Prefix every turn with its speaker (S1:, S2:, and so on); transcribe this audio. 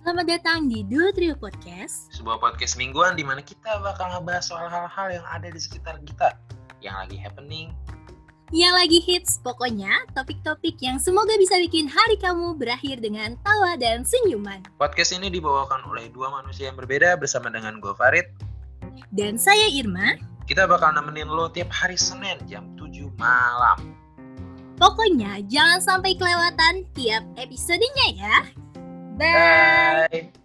S1: Selamat datang di Duo Trio Podcast.
S2: sebuah podcast mingguan di mana kita bakal ngebahas soal hal-hal yang ada di sekitar kita, yang lagi happening.
S1: Yang lagi hits, pokoknya topik-topik yang semoga bisa bikin hari kamu berakhir dengan tawa dan senyuman.
S2: Podcast ini dibawakan oleh dua manusia yang berbeda bersama dengan gue Farid.
S1: Dan saya Irma,
S2: Kita bakal nemenin lo tiap hari Senin jam 7 malam.
S1: pokoknya jangan sampai kelewatan tiap episodenya ya. Bye!
S2: Bye.